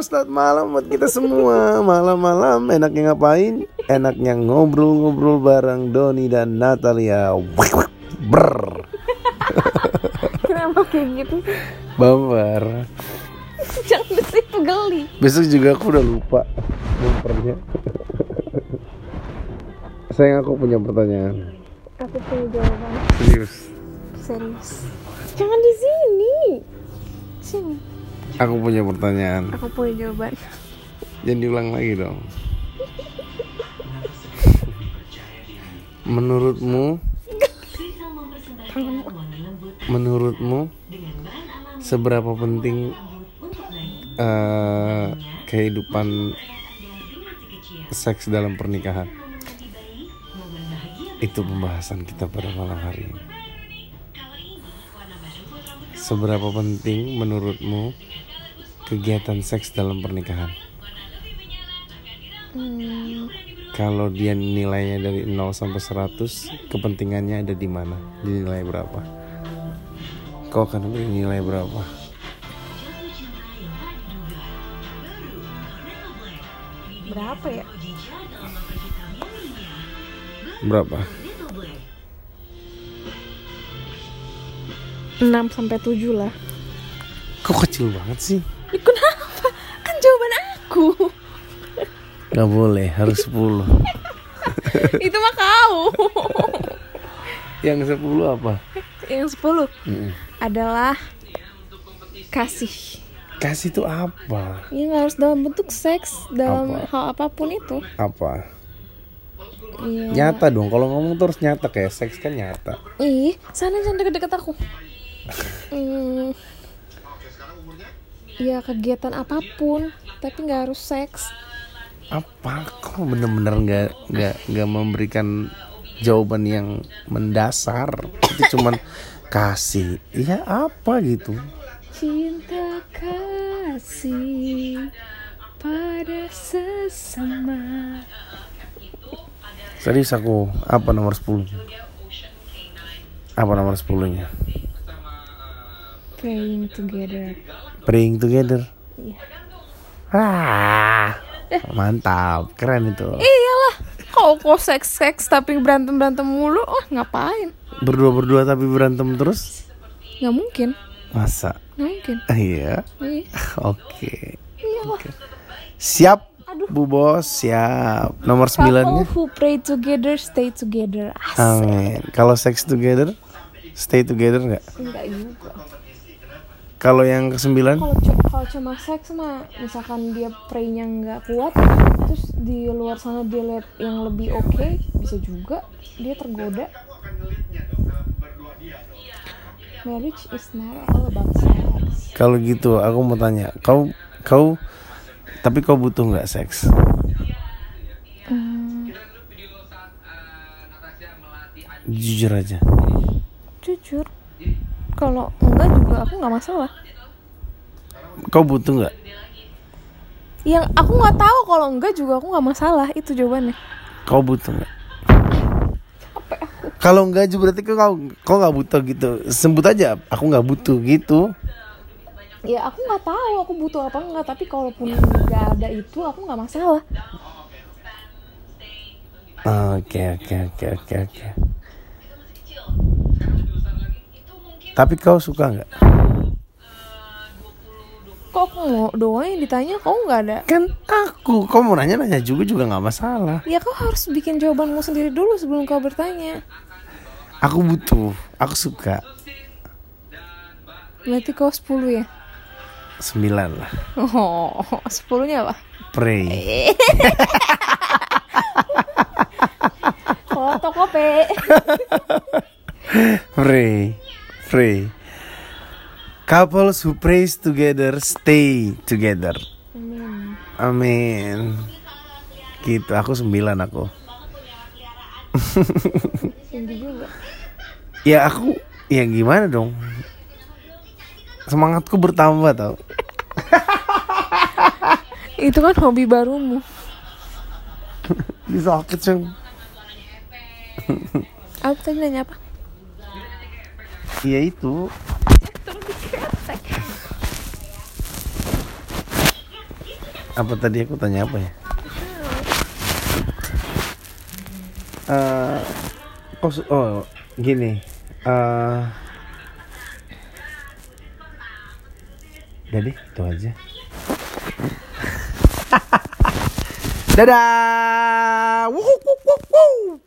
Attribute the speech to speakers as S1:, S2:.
S1: Ustadz malam buat kita semua Malam-malam enaknya ngapain? Enaknya ngobrol-ngobrol bareng Doni dan Natalia Brr.
S2: Kenapa kayak gitu sih?
S1: Bumper
S2: Jangan di situ geli.
S1: Besok juga aku udah lupa bumpernya Sayang aku punya pertanyaan
S2: Aku punya jawaban
S1: Serius
S2: serius. Jangan di sini. Sini.
S1: Aku punya pertanyaan
S2: Aku punya jawaban.
S1: Jangan diulang lagi dong Menurutmu Menurutmu Seberapa penting eh, Kehidupan Seks dalam pernikahan Itu pembahasan kita pada malam hari ini Seberapa penting menurutmu Kegiatan seks dalam pernikahan
S2: Hmm,
S1: Kalau dia nilainya dari 0 sampai 100, kepentingannya ada di mana? Di nilai berapa? Kau akan beri nilai berapa?
S2: berapa ya?
S1: Berapa?
S2: 6 sampai 7 lah.
S1: Kok kecil banget sih?
S2: Ya, kenapa? Kan jawaban aku.
S1: Gak boleh, harus 10
S2: Itu mah kau.
S1: Yang 10 apa?
S2: Yang 10 adalah kasih.
S1: Kasih itu apa?
S2: Ya nggak harus dalam bentuk seks, dalam
S1: Apa?
S2: hal apapun itu.
S1: Apa?
S2: Iya.
S1: Nyata dong, kalau ngomong terus nyata kayak seks kan nyata
S2: Ih, sana jangan deket-deket aku. Hmm. Ya kegiatan apapun, tapi nggak harus seks.
S1: Apa? Kok bener-bener gak, nggak nggak memberikan jawaban yang mendasar Itu cuman kasih Iya apa gitu
S2: Cinta kasih pada sesama.
S1: Serius aku apa nomor 10 Apa nomor 10 nya
S2: Praying together.
S1: Praying together
S2: Iya.
S1: ah, Mantap keren itu
S2: Iyalah, kau kok seks seks tapi berantem berantem mulu, oh ngapain?
S1: Berdua-berdua tapi berantem terus
S2: Nggak mungkin,
S1: Masa
S2: nggak mungkin.
S1: Iya
S2: Iya,
S1: Oke
S2: iyalah.
S1: Siap Bu bos siap Nomor 9 nya
S2: Couple who pray together stay together. Asik.
S1: Amin Kalau sex together Stay together nggak?
S2: Enggak juga.
S1: Kalau yang ke 9
S2: kalau cu- kalau cuma seks mah misalkan dia praynya nggak kuat terus di luar sana dia lihat yang lebih oke bisa juga dia tergoda marriage is not all about sex
S1: Kalau gitu aku mau tanya Kau Kau Tapi kau butuh nggak seks?
S2: Hmm,
S1: Jujur aja
S2: jujur kalau enggak juga aku nggak masalah
S1: Kau butuh nggak?
S2: yang aku nggak tahu kalau enggak juga aku nggak masalah itu jawabannya
S1: Kau butuh nggak? Kalau nggak juga berarti kau kau kau nggak butuh gitu. Sebut aja, aku nggak butuh gitu.
S2: ya aku nggak tahu aku butuh apa enggak tapi kalaupun nggak ada itu aku nggak masalah
S1: Oke oke oke oke oke. Tapi kau suka nggak?
S2: kok mau doang yang ditanya kok nggak ada
S1: Kan aku, kau mau nanya nanya juga juga nggak masalah.
S2: Ya kau harus bikin jawabanmu sendiri dulu sebelum kau bertanya.
S1: Aku butuh, aku suka
S2: Berarti kau 10 ya?
S1: sembilan lah.
S2: Oh, 10-nya apa?
S1: Pray.
S2: Foto kopi.
S1: Pray. Pray. Couples who prays together stay together. Amin. Gitu, aku sembilan aku.
S2: Tinggi juga.
S1: Ya aku, ya gimana dong? Semangatku bertambah tau.
S2: Itu kan hobi barumu.
S1: Disakit sih.
S2: Aku tadi nanya apa?
S1: Ya itu. apa tadi aku tanya apa ya? Eh, oh, su- oh, gini. Eh, udah deh, itu aja. Dadah. Wuhu, wuhu, wuhu.